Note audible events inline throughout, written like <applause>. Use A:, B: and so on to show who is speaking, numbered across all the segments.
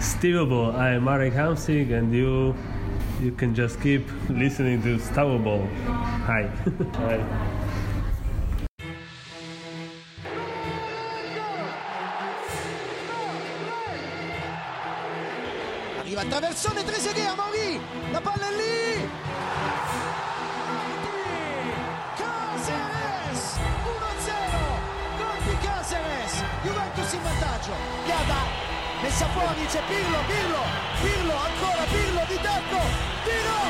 A: Stevable. I'm Marek Hamsik, and you you can just keep listening to Stowable. Hi. <laughs> Hi.
B: Arriva il traversone Trezeguet a Mauri, la palla è lì! Caceres! 1-0, gol di Caceres, Juventus in vantaggio, Piada, messa fuori, c'è Pirlo, Pirlo, Pirlo, ancora Pirlo di tacco, tiro,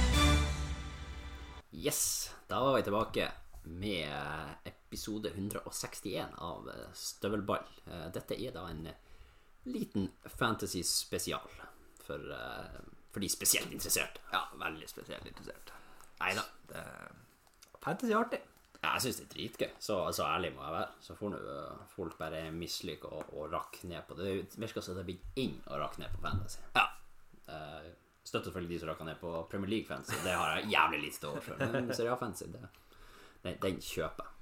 B: gol!
C: Yes, da var vi tilbake med eh, episode 161 av eh, Støvelball. Eh, Dette er da en liten fantasy-spesial for, eh, for de spesielt interesserte.
D: Ja, veldig spesielt interessert.
C: Nei da,
D: Det... Fantasy er artig.
C: jeg syns det er dritgøy. Så, så ærlig må jeg være. Så får nå eh, folk bare mislike og, og rakke ned på det. Det virker som det er blitt inn å rakke ned på fantasy.
D: Ja.
C: Eh, Støtter selvfølgelig de som rakker ned på Premier League-fancy. Det har jeg jævlig lite til over for. Men Serie A-fancy, det- den, den kjøper jeg.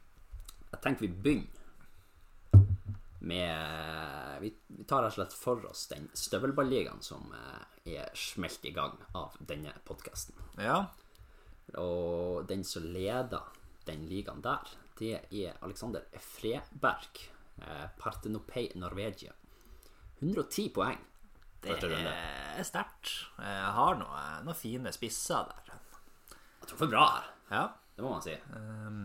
C: Jeg tenker vi begynner med Vi, vi tar rett og slett for oss den støvelballigaen som eh, er smelt i gang av denne podkasten.
D: Ja.
C: Og den som leder den ligaen der, det er Alexander Freberg. Eh, Partenopei Norvegia. 110 poeng.
D: Det
C: Første runde.
D: er Eh, sterkt. Jeg har noen noe fine spisser der.
C: Jeg tror for bra her.
D: Ja.
C: Det må man si. Ehm.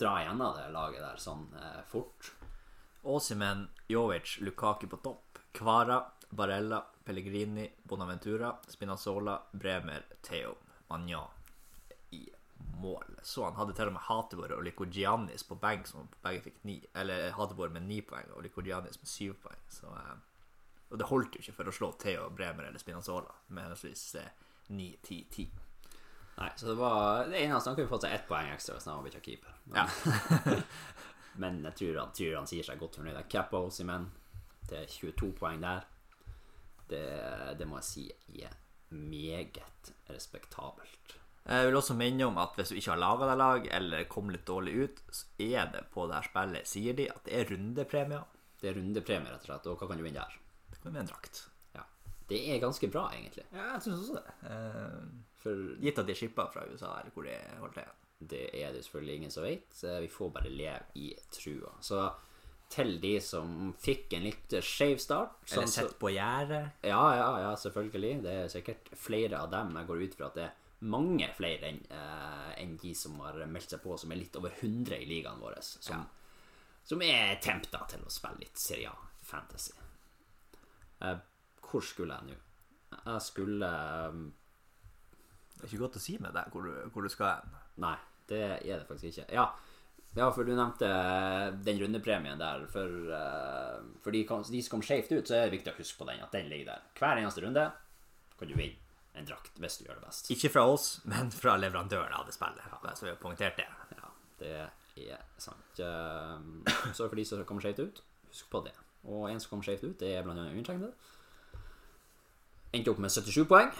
C: Dra igjennom det laget der sånn eh, fort.
D: Åsimen, Jovic, Lukaki på topp. Kvara, Barella, Pellegrini, Bonaventura, Spinazzola, Bremer, Theo, Magnan i mål. Så han hadde til og med Hatebor og Lykogiannis på benk, som begge fikk ni. Eller Hatebor med ni poeng og Lykogiannis med syv poeng. Så, eh, og det holdt jo ikke for å slå Theo, Bremer eller Spinazzola med henholdsvis eh, ni, ti, ti.
C: Nei, så det var det eneste han kunne fått seg ett poeng ekstra hvis han hadde bytta keeper. Men, <laughs> men jeg tror han, tror han sier seg godt fornøyd. Kappa Ossimen. Det er 22 poeng der. Det, det må jeg si er meget respektabelt.
D: Jeg vil også minne om at hvis du ikke har laga deg lag, eller kom litt dårlig ut, så er det på det her spillet, sier de, at det er rundepremier.
C: Det er rundepremie, rett og slett. Og hva kan du vinne der?
D: Det kan være en drakt.
C: Ja. Det er ganske bra, egentlig.
D: Ja, jeg syns også det. Eh,
C: For
D: gitt at de er shippa fra USA, eller hvor de holdt til.
C: Det er det selvfølgelig ingen som vet. så Vi får bare leve i trua. Så til de som fikk en litt skeiv start
D: Eller
C: sånn så-
D: sett på gjerdet.
C: Ja, ja, ja, selvfølgelig. Det er sikkert flere av dem. Jeg går ut fra at det er mange flere enn eh, enn de som har meldt seg på, som er litt over 100 i ligaen vår, som, som er tempta til å spille litt Serie A Fantasy. Eh, hvor skulle jeg nå? Jeg skulle eh,
D: Det er ikke godt å si med deg hvor du, hvor du skal hen.
C: Nei, det er det faktisk ikke. Ja, ja for du nevnte eh, den rundepremien der. For, eh, for de, kan- de som kom skjevt ut, så er det viktig å huske på den, at den ligger der. Hver eneste runde kan du vinne en drakt hvis du gjør det best.
D: Ikke fra oss, men fra leverandøren av det spillet. Bare Så vi har poengtert det.
C: Ja, det er sant. Eh, Så for de som kommer skjevt ut, husk på det. Og en som kom skjevt ut, det er blant annet undertegnede. Endte opp med 77 poeng.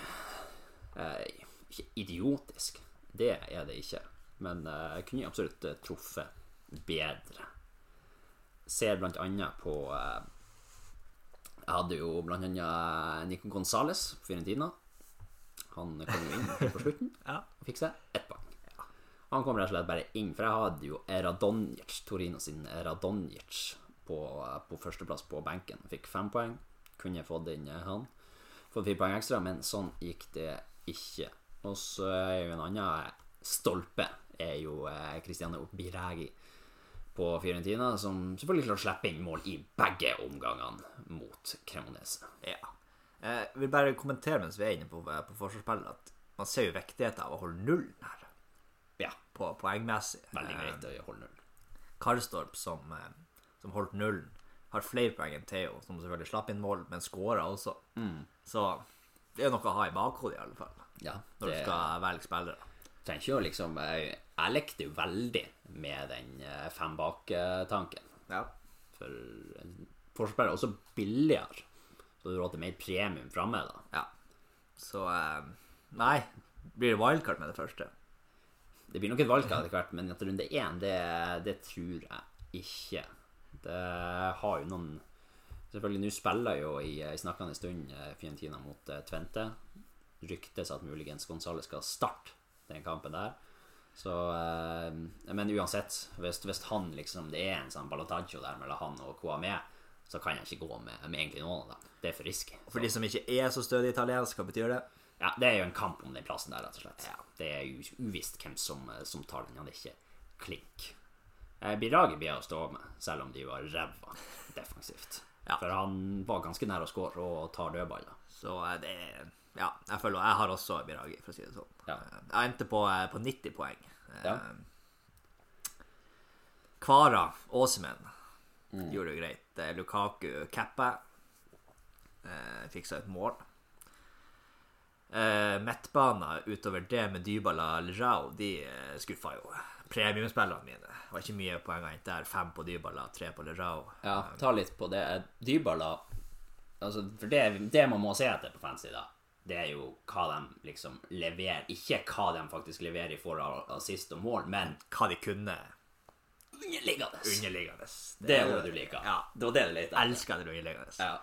C: Eh, Ikke idiotisk, det er det ikke. Men eh, jeg kunne absolutt eh, truffet bedre. Ser blant annet på eh, Jeg hadde jo blant annet Nico Gonzales, Fiorentina. Han kom jo inn helt på slutten
D: Ja.
C: og fikk seg ett poeng. Han kom rett og slett bare inn, for jeg hadde jo Radonjic, Torino sin Radonjic, på, på førsteplass på benken. Fikk fem poeng. Kunne fått inn eh, han. Fått fire poeng ekstra, men sånn gikk det ikke. Og så er jo en annen stolpe er jo eh, Cristiano Biregi på Fiorentina, som selvfølgelig klarte å slippe inn mål i begge omgangene mot Cremonese.
D: Ja. Eh, Jeg vil bare kommentere mens vi er inne på, på forsvarsspillet, at man ser jo viktigheten av å holde nullen her,
C: Ja,
D: på poengmessig.
C: veldig
D: Eh,
C: greit å holde null.
D: Karstorp som, eh, som holdt nullen, har flere poeng enn Theo, som selvfølgelig slapp inn mål, men skåra også.
C: Mm.
D: Så det er noe å ha i bakhodet, i alle fall,
C: Ja,
D: når du
C: det-
D: skal velge spillere.
C: trenger ikke å liksom Jeg, jeg lekte jo veldig med den eh, fem bak-tanken.
D: Ja.
C: For forspillet er også billigere, så du råder mer premium framme, da.
D: ja. Så eh, Nei. Blir det wildcard med det første?
C: Det blir nok et valgkart etter hvert, men etter runde én, det, det tror jeg ikke Det har jo noen Selvfølgelig, nå spiller jo i, i snakkende stund eh, Fiorentina mot eh, Tvente. Ryktes at muligens Gonzales skal starte den kampen der. Så eh, Men uansett, hvis, hvis han liksom Det er en sånn ballotaccio der mellom han og Kouamé, så kan jeg ikke gå med, med egentlig noen av dem. Det er for risky.
D: For de som ikke er så stødig italiensk, hva betyr det?
C: Ja, det er jo en kamp om den plassen der, rett og slett. Det er jo uvisst hvem som, eh, som tar den. Han er ikke klink. Eh, Biragi blir å stå med, selv om de var ræva defensivt.
D: Ja.
C: For han var ganske nær å skåre og tar dødballer.
D: Så eh, det er Ja, jeg føler Jeg har også Biragi, for å si det sånn.
C: Ja.
D: Eh, Jeg endte på, eh, på 90 poeng. Eh,
C: Ja.
D: Kvara, Åsemen,
C: Mm.
D: gjorde det greit. Eh, Lukaku cappa. Eh, fiksa et mål. Eh, Midtbana utover det med Dybala Ljao, de eh, skuffa jo. Premiumspillene mine. Det var ikke mye poeng å hente der. Fem på Dybala, tre på Ljao.
C: Ja, ta litt på det. Dybala altså, For det, det man må se etter på fancy, da, det er jo hva de liksom leverer. Ikke hva de faktisk leverer i form av assist og mål, men
D: Hva de kunne
C: underliggende.
D: underliggende.
C: Det er det du liker.
D: Ja.
C: Det var det du leter etter.
D: Elsker det underliggende.
C: Ja.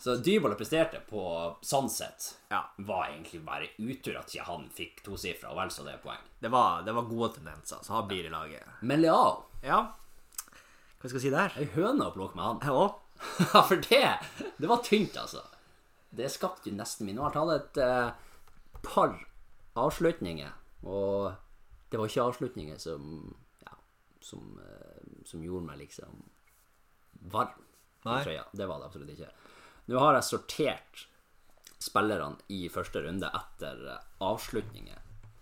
C: Så Dybala presterte på Sanset
D: Ja.
C: var egentlig bare utur at ikke han fikk tosifra og vel så det er poeng.
D: Det var, det var gode tendenser, så han blir i laget.
C: Men Leao,
D: Ja, hva skal jeg si der?
C: ei høne å plukke med han. <laughs>
D: Jeg òg.
C: Ja, for det Det var tynt, altså. Det skapte jo nesten min. Han hadde et eh, par avslutninger, og det var ikke avslutninger som Ja, som, eh, som gjorde meg liksom varm
D: Nei.
C: i trøya. Det var det absolutt ikke. Nå har jeg sortert spillerne i første runde etter eh, avslutninger,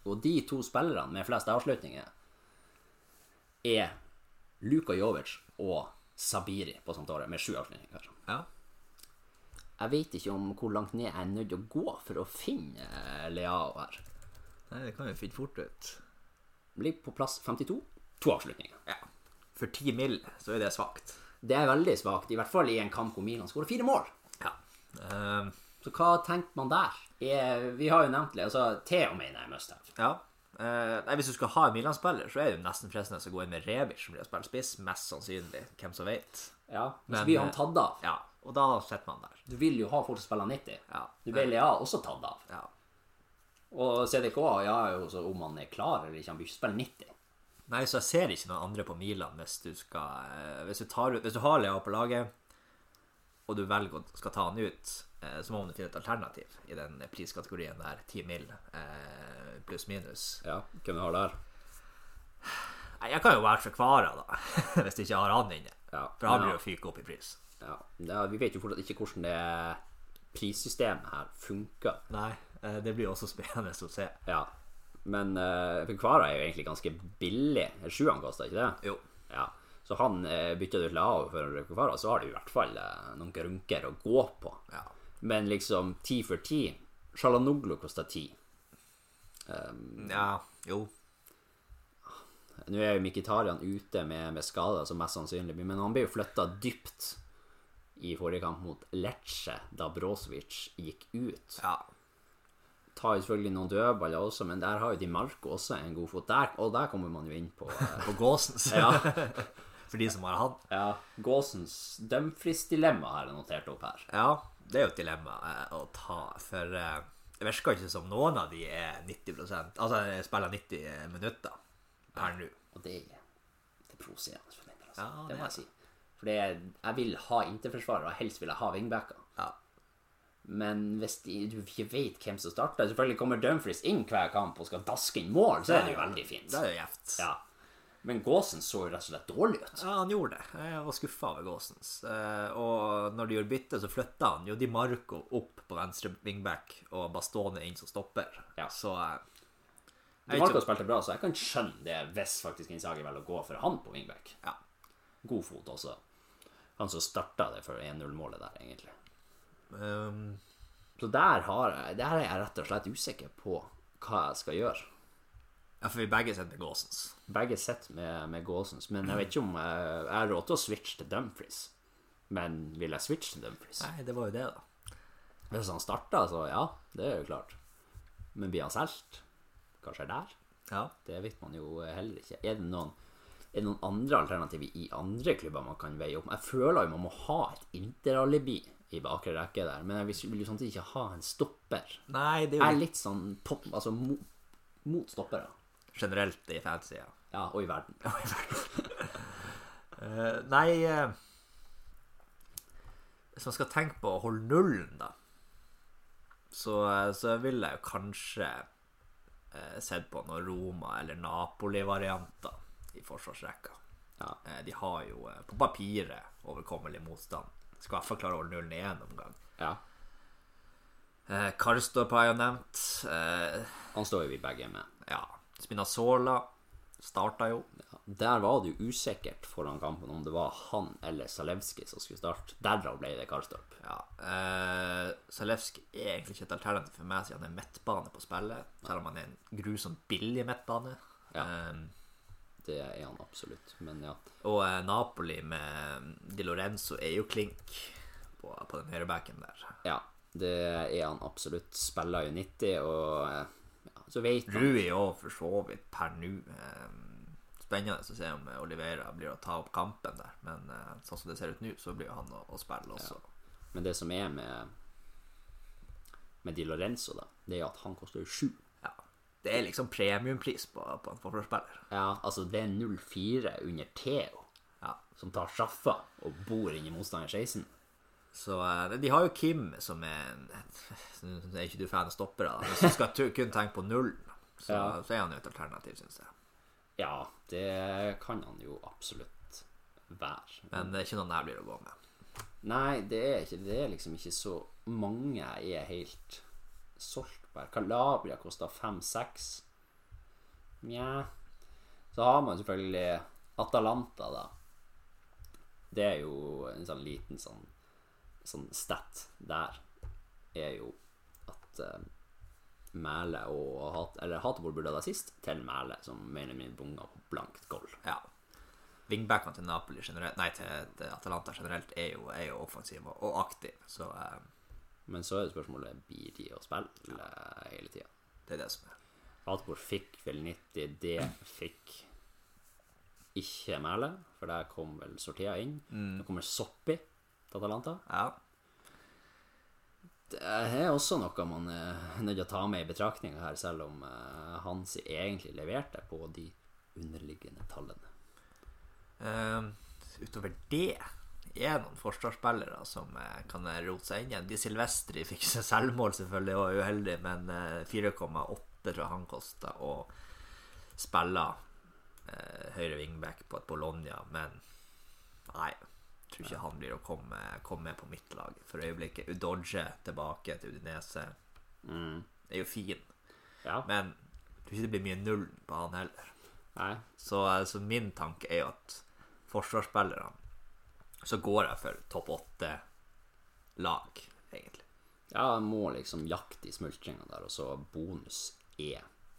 C: og de to spillerne med flest avslutninger er Luka Jovic og Sabiri på Santoret, med sju avslutninger, kanskje.
D: Ja.
C: Jeg vet ikke om hvor langt ned jeg er nødt til å gå for å finne eh, Leao her.
D: Nei, det kan jo finne fort ut.
C: Ligger på plass 52. To avslutninger.
D: Ja. For ti mil, så er det svakt.
C: Det er veldig svakt, i hvert fall i en kamp hvor Milan skårer fire mål.
D: Ja. Ehm,
C: Så hva tenkte man der? Eh, Vi har jo nevnt det. altså Theo mener jeg must have.
D: ja. Eh, nei, Hvis du skal ha en Milan-spiller, så er det jo nesten fristende å gå inn med Rebic, som blir å spille spiss, mest sannsynlig. Hvem som vet.
C: Ja, Men
D: Men,
C: så blir han
D: eh,
C: tatt av.
D: Ja. Og da sitter man der.
C: Du vil jo ha folk som spiller 90.
D: Ja.
C: Du blir Leao også tatt av.
D: Ja.
C: Og CDK ja, er jo så om han er klar eller ikke, han blir ikke spille 90.
D: Nei, så jeg ser ikke noen andre på Milan hvis du skal eh, Hvis du, tar, ut- hvis du har Leo på laget, og du velger å skal ta han ut, eh, så må du finne et alternativ i den priskategorien der, 10 mil eh, pluss minus.
C: Ja, hvem du har der?
D: Nei, Jeg kan jo være for Kvara, da, <laughs> hvis du ikke har han inne.
C: Ja.
D: For han
C: Ja.
D: blir jo fyke opp i pris.
C: Ja, ja, Vi vet jo fortsatt ikke hvordan det prissystemet her funker.
D: Nei, eh, det blir jo også spennende å se.
C: Ja, men uh, Kvara er jo egentlig ganske billig. Sjuan kosta ikke det?
D: Jo.
C: Ja. Så han eh, bytter du til Lao for Kvara, så har du i hvert fall eh, noen grunker å gå på.
D: Ja.
C: Men liksom ti for ti Sjalanoglu kosta ti.
D: ja. Jo.
C: Nå er jo Mkhitarian ute med, med skader, som mest sannsynlig blir Men han ble jo flytta dypt i forrige kamp mot Lecce, da Brozovic gikk ut.
D: Ja.
C: Tar jo selvfølgelig noen dødballer også, men der har jo Di Marco også en god fot. Der, og der kommer man jo inn på eh,
D: <laughs> På Gåsens.
C: ja.
D: For de som har han.
C: Ja, Gåsens dømfristdilemma har jeg notert opp her.
D: Ja, det er jo et dilemma eh, å ta, for eh, det virker ikke som noen av de er 90 Altså jeg spiller 90 minutter per nå.
C: Og det er, det er provoserende for min del, altså.
D: Ja,
C: det
D: det
C: må
D: er
C: jeg si. For det er, jeg vil ha interforsvarere, og helst vil jeg ha wingbacker.
D: Ja.
C: Men hvis de, du ikke vet hvem som starter Selvfølgelig kommer Dumfries inn hver kamp og skal daske inn mål, så er det jo veldig fint.
D: Det er jo gjevt.
C: Ja. Men Gåsen så jo rett og slett dårlig ut.
D: Ja, han gjorde det. Jeg var skuffa over Gåsens. Eh, Og når de gjorde bytte, så flytta han jo Di Marco opp på venstre wingback og Bastone inn som stopper.
C: Ja.
D: Så eh, jeg
C: Marco
D: tror-
C: spilte bra, så jeg kan skjønne det hvis faktisk Inzaghi velger å gå for han på wingback.
D: ja.
C: God fot også. Han som starta det for 1-0-målet der, egentlig.
D: Um,
C: Så der, har jeg, der er jeg rett og slett usikker på hva jeg skal gjøre.
D: ja, for vi begge sendte Gåsens.
C: Begge sitter med, med Gåsens, men jeg vet ikke om jeg, jeg har råd til å switche til Dumfries. Men vil jeg switche til Dumfries?
D: Nei, det var jo det, da.
C: Hvis han starter, så ja, det er jo klart. Men blir han solgt? Hva skjer der?
D: Ja.
C: Det vet man jo heller ikke. Er det noen Er det noen andre alternativer i andre klubber man kan veie opp? Jeg føler jo man må ha et interalibi i bakre rekke der, men jeg vil jo samtidig ikke ha en stopper.
D: Nei, det
C: Jeg
D: er
C: er
D: jo
C: litt sånn pop, altså mot, mot stoppere.
D: generelt i fantasy. Ja.
C: Ja, og i verden. <laughs>
D: Eh, nei eh, Hvis man skal tenke på å holde nullen, da, så, eh, så vil jeg jo kanskje eh, sett på noen Roma- eller Napoli-varianter i forsvarsrekka.
C: Ja.
D: Eh, de har jo eh, på papiret overkommelig motstand. Skal i hvert fall klare å holde nullen i én omgang.
C: Ja.
D: Eh, Karstorp har jeg jo nevnt. Eh,
C: Han står jo vi begge med.
D: ja, Spinazzola starta jo.
C: Ja, Der var det jo usikkert foran kampen om det var han eller Zalewski som skulle starte. Derav ble det Karstorp.
D: Ja, eh, Zalewski er egentlig ikke et alternativ for meg siden han er midtbane på spillet, selv om han er en grusomt billig midtbane.
C: Ja.
D: Eh,
C: Det er han absolutt. Men ja.
D: og eh, Napoli med Di Lorenzo er jo klink på, på den høyrebacken der.
C: ja det er han absolutt. Spiller jo 90, og eh, ja, så vet man
D: Rui òg, for så vidt, per nå. Eh, spennende å se om eh, Oliveira blir å ta opp kampen der, men eh, sånn som det ser ut nå, så blir jo han å, å spille også.
C: Men det som er med Med Di Lorenzo, da, det er at han koster jo 7.
D: Ja. Det er liksom premiumpris på, på en forsvarsspiller.
C: Ja, altså, det er 0-4 under Theo,
D: Ja.
C: som tar sjaffa og bor inni motstander 16.
D: Så eh, De har jo Kim, som er en Nå er ikke du fan av stoppere, da. Hvis du skal tu- kun tenke på nullen, så,
C: Ja.
D: så er han jo et alternativ, syns jeg.
C: Ja, det kan han jo absolutt være.
D: Men det er ikke noen jeg blir å gå med.
C: Nei, det er ikke Det er liksom ikke så mange jeg er helt solgt på. her. Calabria koster 5-6. Nja Så har man selvfølgelig Atalanta, da. Det er jo en sånn liten sånn, sånn stat der er jo at eh, Mæle og Hat... Eller Hatebol burde ha det sist, til Mæle, som mener min bunga på blankt gold.
D: Ja. Wingbackene til Napoli generelt Nei, til, til Atalanta generelt er jo, er jo offensive og, og aktive, så eh,
C: Men så er jo spørsmålet blir de å spille eh, hele tida.
D: det er det som er.
C: Hatbord fikk vel 90, det fikk ikke Mæle, for der kom vel Sortea inn. Nå kommer Soppi til Atalanta.
D: Ja.
C: Det er også noe man er nødt til å ta med i betraktninga her, selv om eh, Hans egentlig leverte på de underliggende tallene.
D: Eh, utover det er det noen forsvarsspillere som eh, kan rote seg inn igjen. De Silvestri fikk seg selvmål, selvfølgelig, og var uheldig, men eh, 4,8 tror jeg han kosta, og spiller eh, høyre wingback på et Bologna, men nei. Tror ikke han blir å komme, komme med på mitt lag for øyeblikket. Udoge tilbake til Udinese er jo fin,
C: Ja.
D: men tror ikke det blir mye null på han heller.
C: Nei.
D: Så, eh, så min tanke er jo at forsvarsspillerne Så går jeg for topp åtte lag, egentlig.
C: Ja, jeg må liksom jakte i smultringa der, og så bonus E,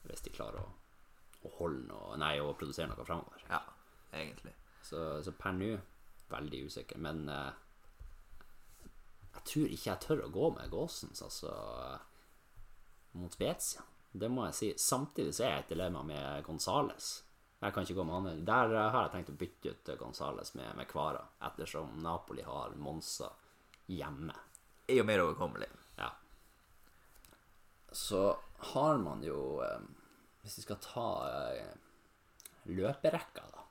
C: hvis de klarer å, å holde noe Nei, å produsere noe framover.
D: Ja, egentlig.
C: Så, så per nå, veldig usikker. Men eh, jeg tror ikke jeg tør å gå med Gåsens, altså, eh, mot Spezia. Det må jeg si. Samtidig så er jeg et dilemma med Gonzales. Jeg kan ikke gå med han. Der eh, har jeg tenkt å bytte ut Gonzales med, med Kvara, ettersom Napoli har Monza hjemme.
D: Er jo mer overkommelig.
C: Ja. Så har man jo eh, Hvis vi skal ta eh, løperekka, da.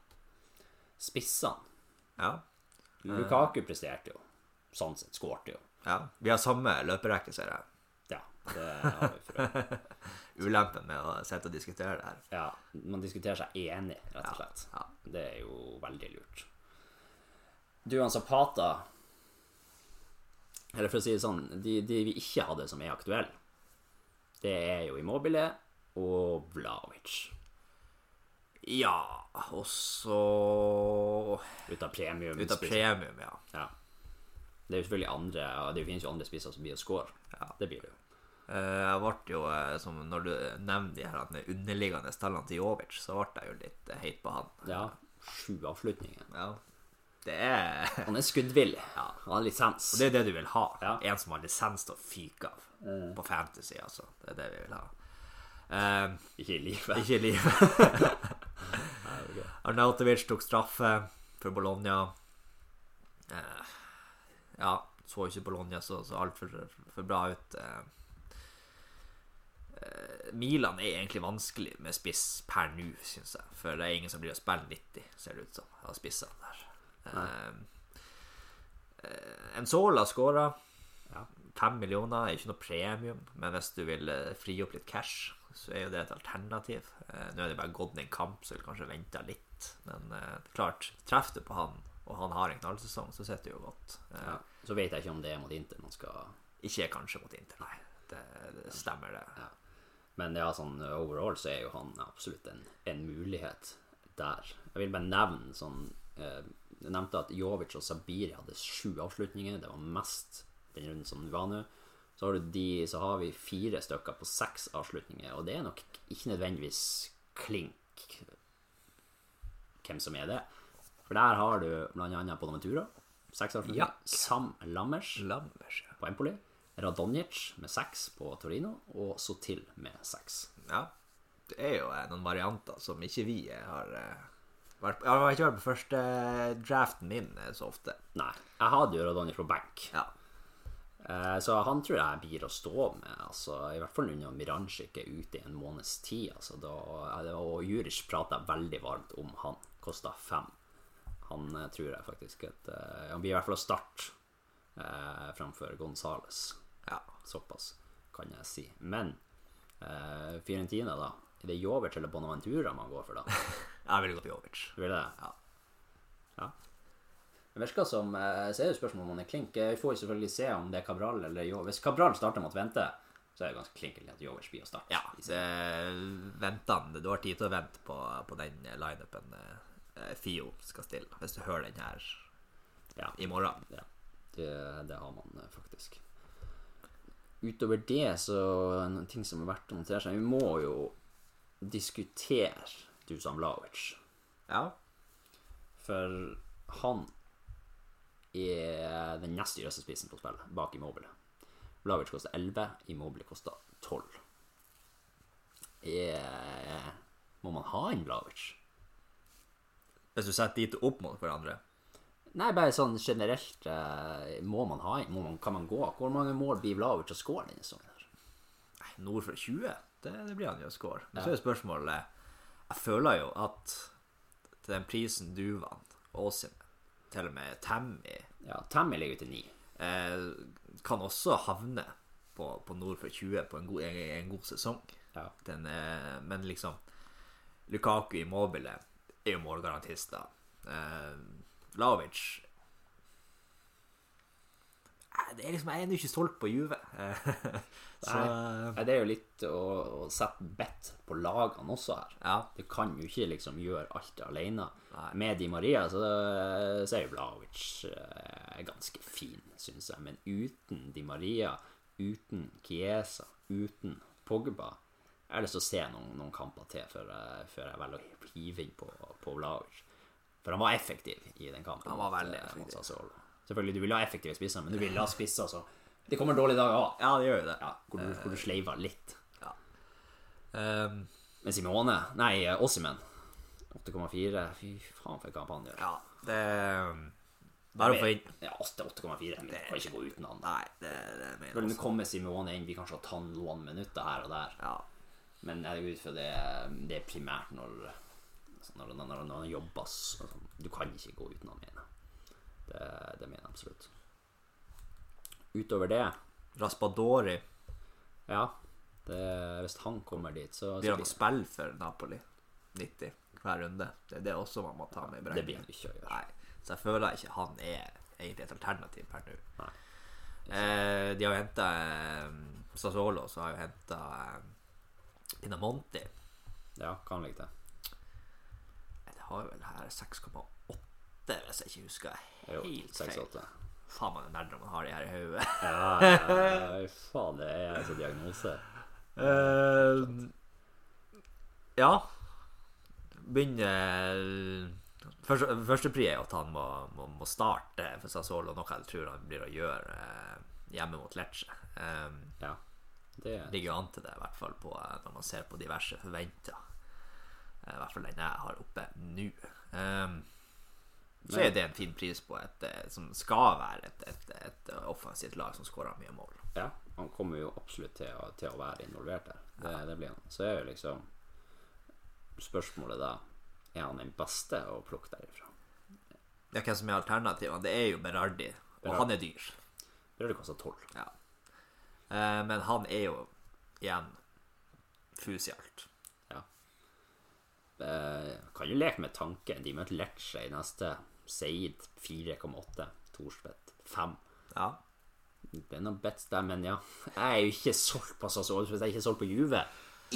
C: Spissene.
D: Ja.
C: Lukaku presterte jo. Sånn sett skårte jo.
D: ja. Vi har samme løperekke, ser jeg.
C: Ja, det har vi for øvrig.
D: Ulempen med å sitte og diskutere det her.
C: Ja, man diskuterer seg enig, rett og slett.
D: Ja.
C: Det er jo veldig lurt. Du, han Zapata Eller for å si det sånn, de, de vi ikke hadde som er aktuelle, det er jo Immobile og Vlavic.
D: Ja, og så
C: Ut av premium.
D: Ut av premium, ja.
C: ja. Det er jo selvfølgelig andre ja, Det finnes jo andre spisser som blir å score.
D: Ja.
C: Det blir det jo.
D: Eh, Jeg ble jo, eh, som når du nevner de her at de underliggende tallene til Jovic, så ble jeg jo litt eh, heit på han.
C: Ja. Sju avslutninger.
D: Ja. Det er
C: Han er skuddvillig. Han har lisens.
D: Og det er det du vil ha.
C: Ja. Mm.
D: En som har lisens til å fyke av. På fantasy, altså. Det er det vi vil ha. Eh,
C: <laughs> Ikke i livet.
D: ikke i livet. Arnautovic tok straffe for Bologna. Eh, ja, så ikke Bologna så, så altfor for bra ut. Eh, eh, Milan er egentlig vanskelig med spiss per nå, syns jeg. For det er ingen som blir å spille 90, ser det ut som, av spissene der. Eh, eh, Enzola skåra. Fem millioner er ikke noe premium, men hvis du vil eh, fri opp litt cash, så er jo det et alternativ. Eh, Nå er det bare gått en kamp, så vil kanskje vente litt. Men eh, det er klart, treffer du på han, og han har en knallsesong, så sitter det jo godt. Eh,
C: Ja. Så vet jeg ikke om det er mot Inter man skal
D: Ikke kanskje mot Inter, nei. Det, det stemmer, det.
C: Men ja, sånn overall så er jo han absolutt en, en mulighet der. Jeg vil bare nevne sånn eh, Jeg nevnte at Jovic og Sabiri hadde sju avslutninger. Det var mest den runden som var nå. Så har, du de, så har vi fire stykker på seks avslutninger, og det er nok ikke nødvendigvis klink hvem som er det. For der har du blant annet Bonaventura, seks avslutninger.
D: Ja.
C: Sam Lammers
D: Lammers, ja.
C: på Empoli, Radonjic med seks på Torino, og Sotil med seks.
D: ja. Det er jo eh, noen varianter som ikke vi eh, har eh, vært på. Jeg har ikke vært på første draften min eh, så ofte.
C: Nei, jeg hadde jo Radonjic på benk,
D: Ja.
C: eh, så han tror jeg blir å stå med, altså, i hvert fall når Miranchik er ute i en måneds tid, altså, da, og Juric prater veldig varmt om han, kosta fem. Han eh, tror jeg faktisk at eh, Han blir i hvert fall å starte eh, framfor Gonzales.
D: ja.
C: Såpass kan jeg si. Men eh, Fiorentina, da. Er det Jovic eller Bonaventura man går for, da?
D: Jeg ville gått Jovic.
C: Du vil det?
D: Ja.
C: Ja. Det virker som eh, Så er det jo spørsmålet om han er klink. Eh, Vi får jo selvfølgelig se om det er Cabral eller Jo. Hvis Cabral starter med å vente, så er det ganske klinkelig at Jovers blir å starte.
D: Ja, det, vent han. Du har tid til å vente på, på den lineupen eh, Fio skal stille, hvis du hører den her
C: Ja.
D: i morgen.
C: Ja, det, det har man eh, faktisk. Utover det, så en ting som er verdt å notere seg Vi må jo diskutere Dusan Vlahovic.
D: Ja.
C: For han er den nest dyreste spissen på spillet, bak Immobile. Vlavic koster 11, Immobile koster 12. Er, må man ha en Vlavic?
D: Hvis du setter de to opp mot hverandre
C: Nei, bare sånn generelt eh, Må man ha en? Må man, kan man gå? Hvor mange mål blir Vlavic å skåre denne sesongen? her?
D: nei, nord for 20, det, det blir han jo å score. Men så er spørsmålet Jeg føler jo at til den prisen du vant, Åsim, til og med Tammy,
C: Ja, Tammy ligger til 9.
D: eh, kan også havne på, på nord for 20 på en god, en, en god sesong.
C: Ja.
D: Den er, men liksom Lukaku i Mobile er jo målgarantister. Eh, Lavic Eh, det er liksom, Jeg er ennå ikke solgt på Juve. <laughs> Eh, så
C: Nei, det er jo litt å, å sette bet på lagene også her.
D: ja.
C: Du kan jo ikke liksom gjøre alt alene.
D: Nei.
C: Med Di Maria så, så er jo Vlaovic eh, ganske fin, syns jeg. Men uten Di Maria, uten Chiesa, uten Pogba Jeg har lyst til å se noen, noen kamper til før jeg, før jeg velger å hive inn på, på Vlaovic. For han var effektiv i den kampen.
D: Han var
C: mot,
D: veldig
C: eh, mot
D: effektiv.
C: Sassuolo. Selvfølgelig, du vil ha effektive spisser, men du vil ha spisser, så Det kommer dårlige dager òg.
D: ja, det gjør jo det.
C: Ja, hvor, du- hvor du sleiver litt.
D: Eh,
C: Men Simone Nei, eh, Ossimen. 8,4. Fy faen, for en kamp han gjør.
D: ja det Bare å få inn
C: Ja, åtte- 8,4. Vi kan ikke gå uten han.
D: Nei, det, det mener jeg
C: Vel, Nå
D: også.
C: kommer Simone inn. Vi kan slå tann noen minutter her og der.
D: Ja.
C: Men jeg går ut fra det, det er primært når altså, når, når, når han jobber. så- altså, Du kan ikke gå uten han, mener jeg. Det, det mener jeg absolutt. Utover det
D: Raspadori
C: Altså, Ja. Det, hvis han kommer dit, så,
D: blir
C: så
D: han å spille for Napoli 90 hver runde. Det er det også man må ta med i
C: det blir
D: beregningen.
C: han ikke å gjøre.
D: Nei, så jeg føler ikke han er egentlig et alternativ per nå.
C: Nei.
D: Eh, de har jo henta eh, Sassuolo, så har jo henta eh, Pinamonti.
C: Ja, kan ligge til.
D: Det har jo vel her 6,8, hvis jeg ikke husker
C: Jo,
D: helt feil.
C: 6-8.
D: Faen, man er nerd når man har de her i <laughs> hodet.
C: Ja, ja, ja, faen, det er altså diagnose.
D: Eh, ja Begynner eh, første, Førstepri er jo at han må, må, må starte for Sassuolo, noe jeg tror han blir å gjøre eh, hjemme mot Lecce. Eh,
C: Ja. Det,
D: ligger jo an til det, i hvert fall på, eh, når man ser på diverse forventer. Eh, I hvert fall den jeg har oppe nå. Ehm, så er det en fin pris på et eh, som skal være et, et, et offensivt lag som skårer mye mål.
C: Ja, han kommer jo absolutt til å, til å være involvert der. Det, det blir han. Så er jo liksom spørsmålet da Er han den beste å plukke derifra?
D: Ja, hvem som er alternativene? Det er jo Berardi, og
C: Berardi.
D: han er dyr.
C: Burde kosta tolv.
D: Ja. Eh, men han er jo igjen fus i alt.
C: Ja. Eh, kan jo leke med tanken. De møter Lecce i neste. Seid 4,8. Thorstvedt 5.
D: Ja.
C: Det er noen bets der, men ja. Jeg er jo ikke solgt på Sassuolo. Jeg er ikke solgt på Juve.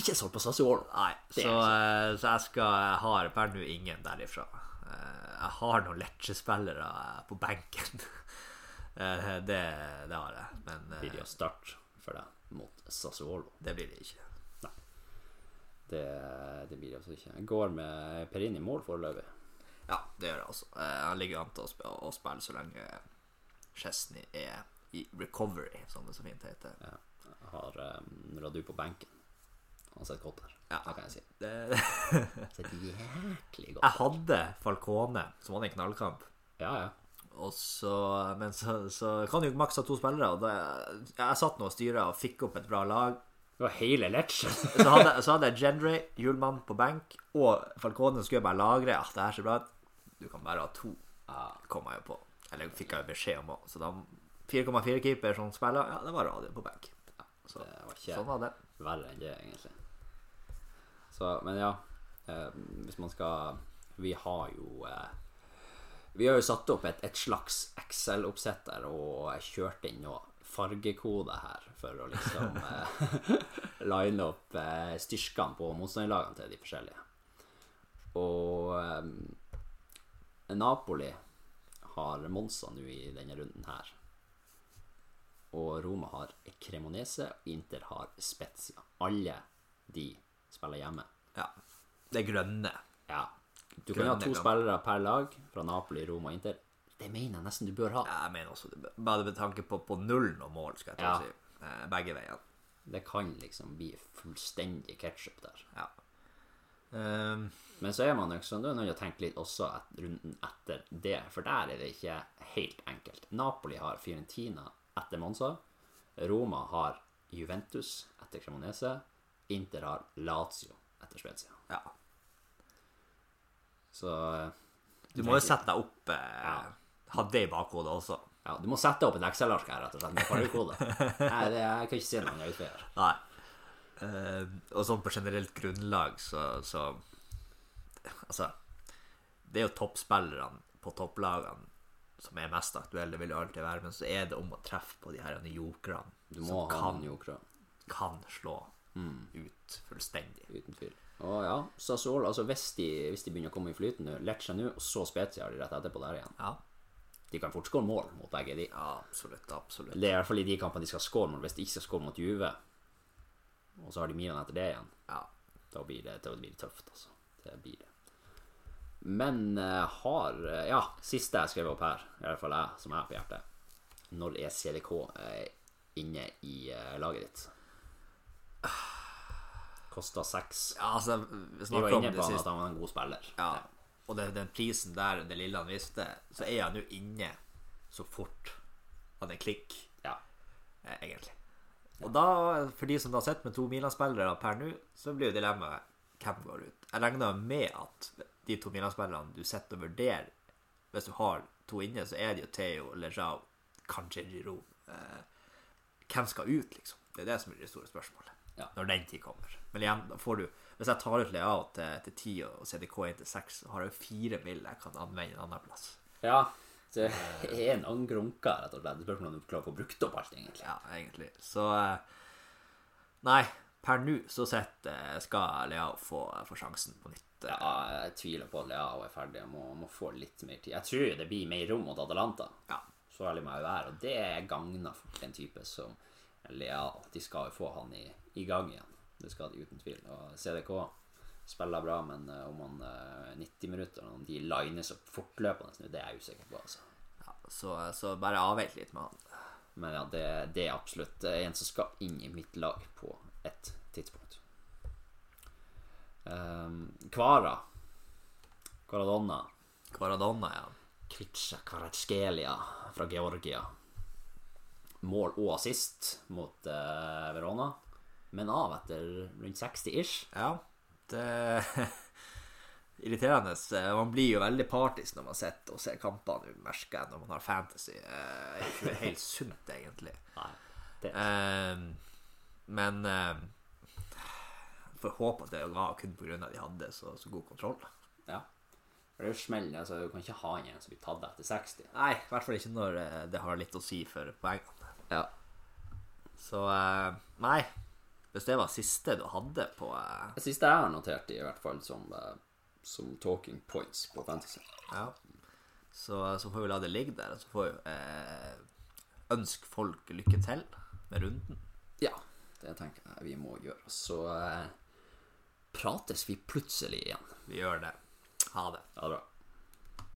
C: Ikke solgt på Sassuolo.
D: Nei,
C: det
D: så,
C: er
D: eh, så jeg skal Jeg har per nå ingen derifra. Eh, Jeg har noen Lecce-spillere eh, på benken. <laughs> Eh, det, det har jeg, men eh,
C: Blir det å starte for deg mot Sassuolo?
D: det blir det ikke.
C: Det, det blir det altså ikke. Jeg går med Perin i mål foreløpig.
D: Ja, det gjør jeg altså. Eh, Han ligger an til å sp- å spille så lenge Chesney er i recovery, som det så fint heter.
C: Ja. Jeg har um, Radu på benken. Han sitter godt der.
D: Ja.
C: Det kan jeg si.
D: Det, <laughs>
C: Han sitter jæklig godt.
D: jeg hadde Falcone, som hadde en knallkamp.
C: Ja, ja.
D: Og så, men så, så kan jo maks ha to spillere. Og det, jeg satt nå og styra og fikk opp et bra lag.
C: Det var hele Lecce.
D: Så hadde, så hadde jeg Gendre, Hjulmann på benk, og Falcone skulle jeg bare lagre. Ah, det her ser bra ut. Du kan bare ha to, Ah, kom jeg jo på. Eller fikk jeg jo beskjed om òg. Så da 4,4-keeper som spiller, ja, det var radio på benk. Så,
C: Det var ikke
D: sånn var det.
C: verre enn det, egentlig. Så, men ja. Eh, hvis man skal Vi har jo eh, Vi har jo satt opp et, et slags Excel-oppsett der og kjørt inn noe fargekode her for å liksom eh, <laughs> line opp eh, styrkene på motstanderlagene til de forskjellige. Og eh, Napoli har Monza nå i denne runden her. Og Roma har Cremonese, og Inter har Spezia. Alle de spiller hjemme.
D: Ja. Det grønne.
C: Ja. Du kan
D: Grønne
C: ha to
D: kamp.
C: spillere per lag fra Napoli, Roma og Inter. Det mener jeg nesten du bør ha.
D: Jeg mener også det, bare med tanke på, på nullen og mål, skal jeg ta
C: Ja.
D: og si. Eh, Begge veiene.
C: Det kan liksom bli fullstendig ketsjup der.
D: Ja. Ehm,
C: Men så er man liksom, du er nødt til å tenke litt også et, runden etter det, for der er det ikke helt enkelt. Napoli har Fiorentina etter Monza, Roma har Juventus etter Cremonese, Inter har Lazio etter Spezia.
D: ja.
C: Så eh,
D: Du må jo sette deg opp. Eh,
C: Ja.
D: Ha det i bakhodet også.
C: ja, du må sette opp et Excel-ark her, rett og slett, med fargekode. Nei, det, jeg kan ikke se noen utvei her.
D: Nei. Eh, og sånn på generelt grunnlag, så, så Altså, det er jo toppspillerne på topplagene som er mest aktuelle, det vil jo alltid være, men så er det om å treffe på de her jokerne
C: Du må
D: som
C: ha Mm.
D: kan,
C: en jokra,
D: kan slå ut fullstendig.
C: uten tvil. Å ja, Sassuolo, altså hvis de, hvis de begynner å komme i flyten nå, Lecce nå, og så Spezia har de rett etterpå der igjen.
D: Ja.
C: De kan fort skåre mål mot begge de.
D: ja, absolutt. Absolutt.
C: Det er i hvert fall i de kampene de skal score mot. Hvis de ikke skal score mot Juve, og så har de Milan etter det igjen,
D: Ja.
C: da blir det, da blir det tøft, altså. Det blir det. Men eh, har eh, Ja, siste jeg skrev opp her, i hvert fall jeg, som jeg har på hjertet. Når er CDK eh, inne i eh, laget ditt? Kosta seks.
D: ja, altså, vi
C: Vi var
D: snakket om
C: inne
D: det
C: på han
D: sist.
C: at han var en god spiller.
D: Ja. Og det, den prisen der, det lille han visste, så er han jo inne så fort han er klikk,
C: Ja.
D: eh, egentlig. Og da, for de som da sitter med to Milan-spillere per nå, så blir jo dilemmaet hvem går ut. Jeg regner med at de to Milan-spillerne du sitter og vurderer, hvis du har to inne, så er det jo Theo, Lejao, kanskje Giroud. Eh, hvem skal ut, liksom? Det er det som blir det store spørsmålet.
C: Ja.
D: Når den tid kommer. Men igjen, da får du Hvis jeg tar ut Leao til, til 10 og CDK inn til 6, så har jeg jo fire mill. jeg kan anvende en annen plass.
C: ja. Det er en angrunka, rett og slett. Det spørs om du klarer å få brukt opp alt, egentlig.
D: Ja, egentlig. Så eh, Nei, per nå så sett eh, skal Leao få, få sjansen på nytt. Eh,
C: Ja, jeg tviler på at Leao er ferdig. Jeg må, må få litt mer tid. Jeg tror jo det blir mer rom mot Atalanta.
D: Ja.
C: Så ærlig må jeg være. Og det gagner for en type som Leao. De skal jo få han i, i gang igjen. Det skal de uten tvil. Og CDK spiller bra, men eh, om han eh, 90 minutter Om de lines opp fortløpende, det er jeg usikker på. altså.
D: Ja, så, så bare avvent litt med han.
C: Men ja, det, det er eh, absolutt en som skal inn i mitt lag på et tidspunkt. Eh, Kvara. Kvaradonna.
D: Kvaradonna, ja.
C: Kvitsja Kvaratskelia fra Georgia. Mål og assist mot eh, Verona, men av etter rundt 60-ish.
D: Ja, det <laughs> Irriterende. Eh, Man blir jo veldig partisk når man sitter og ser kampene, merker jeg, når man har fantasy. Eh, Det er ikke helt sunt, egentlig.
C: Nei, det-
D: Eh, Men eh, får håpe at det var kun pga. at de hadde så, så god kontroll.
C: Ja. For Det er jo smell, altså, du kan ikke ha en som blir tatt etter 60.
D: Nei, i hvert fall ikke når eh, det har litt å si for poengene.
C: Ja.
D: Så eh, nei. Hvis det var siste du hadde på eh,
C: Det siste jeg har notert, i hvert fall som, eh, som talking points på fantasy.
D: Ja. Så, eh, så får vi la det ligge der, og så får vi eh, ønske folk lykke til med runden.
C: Ja, det tenker jeg vi må gjøre. Så eh, prates vi plutselig igjen.
D: Vi gjør det. Ha det.
C: Ha det bra.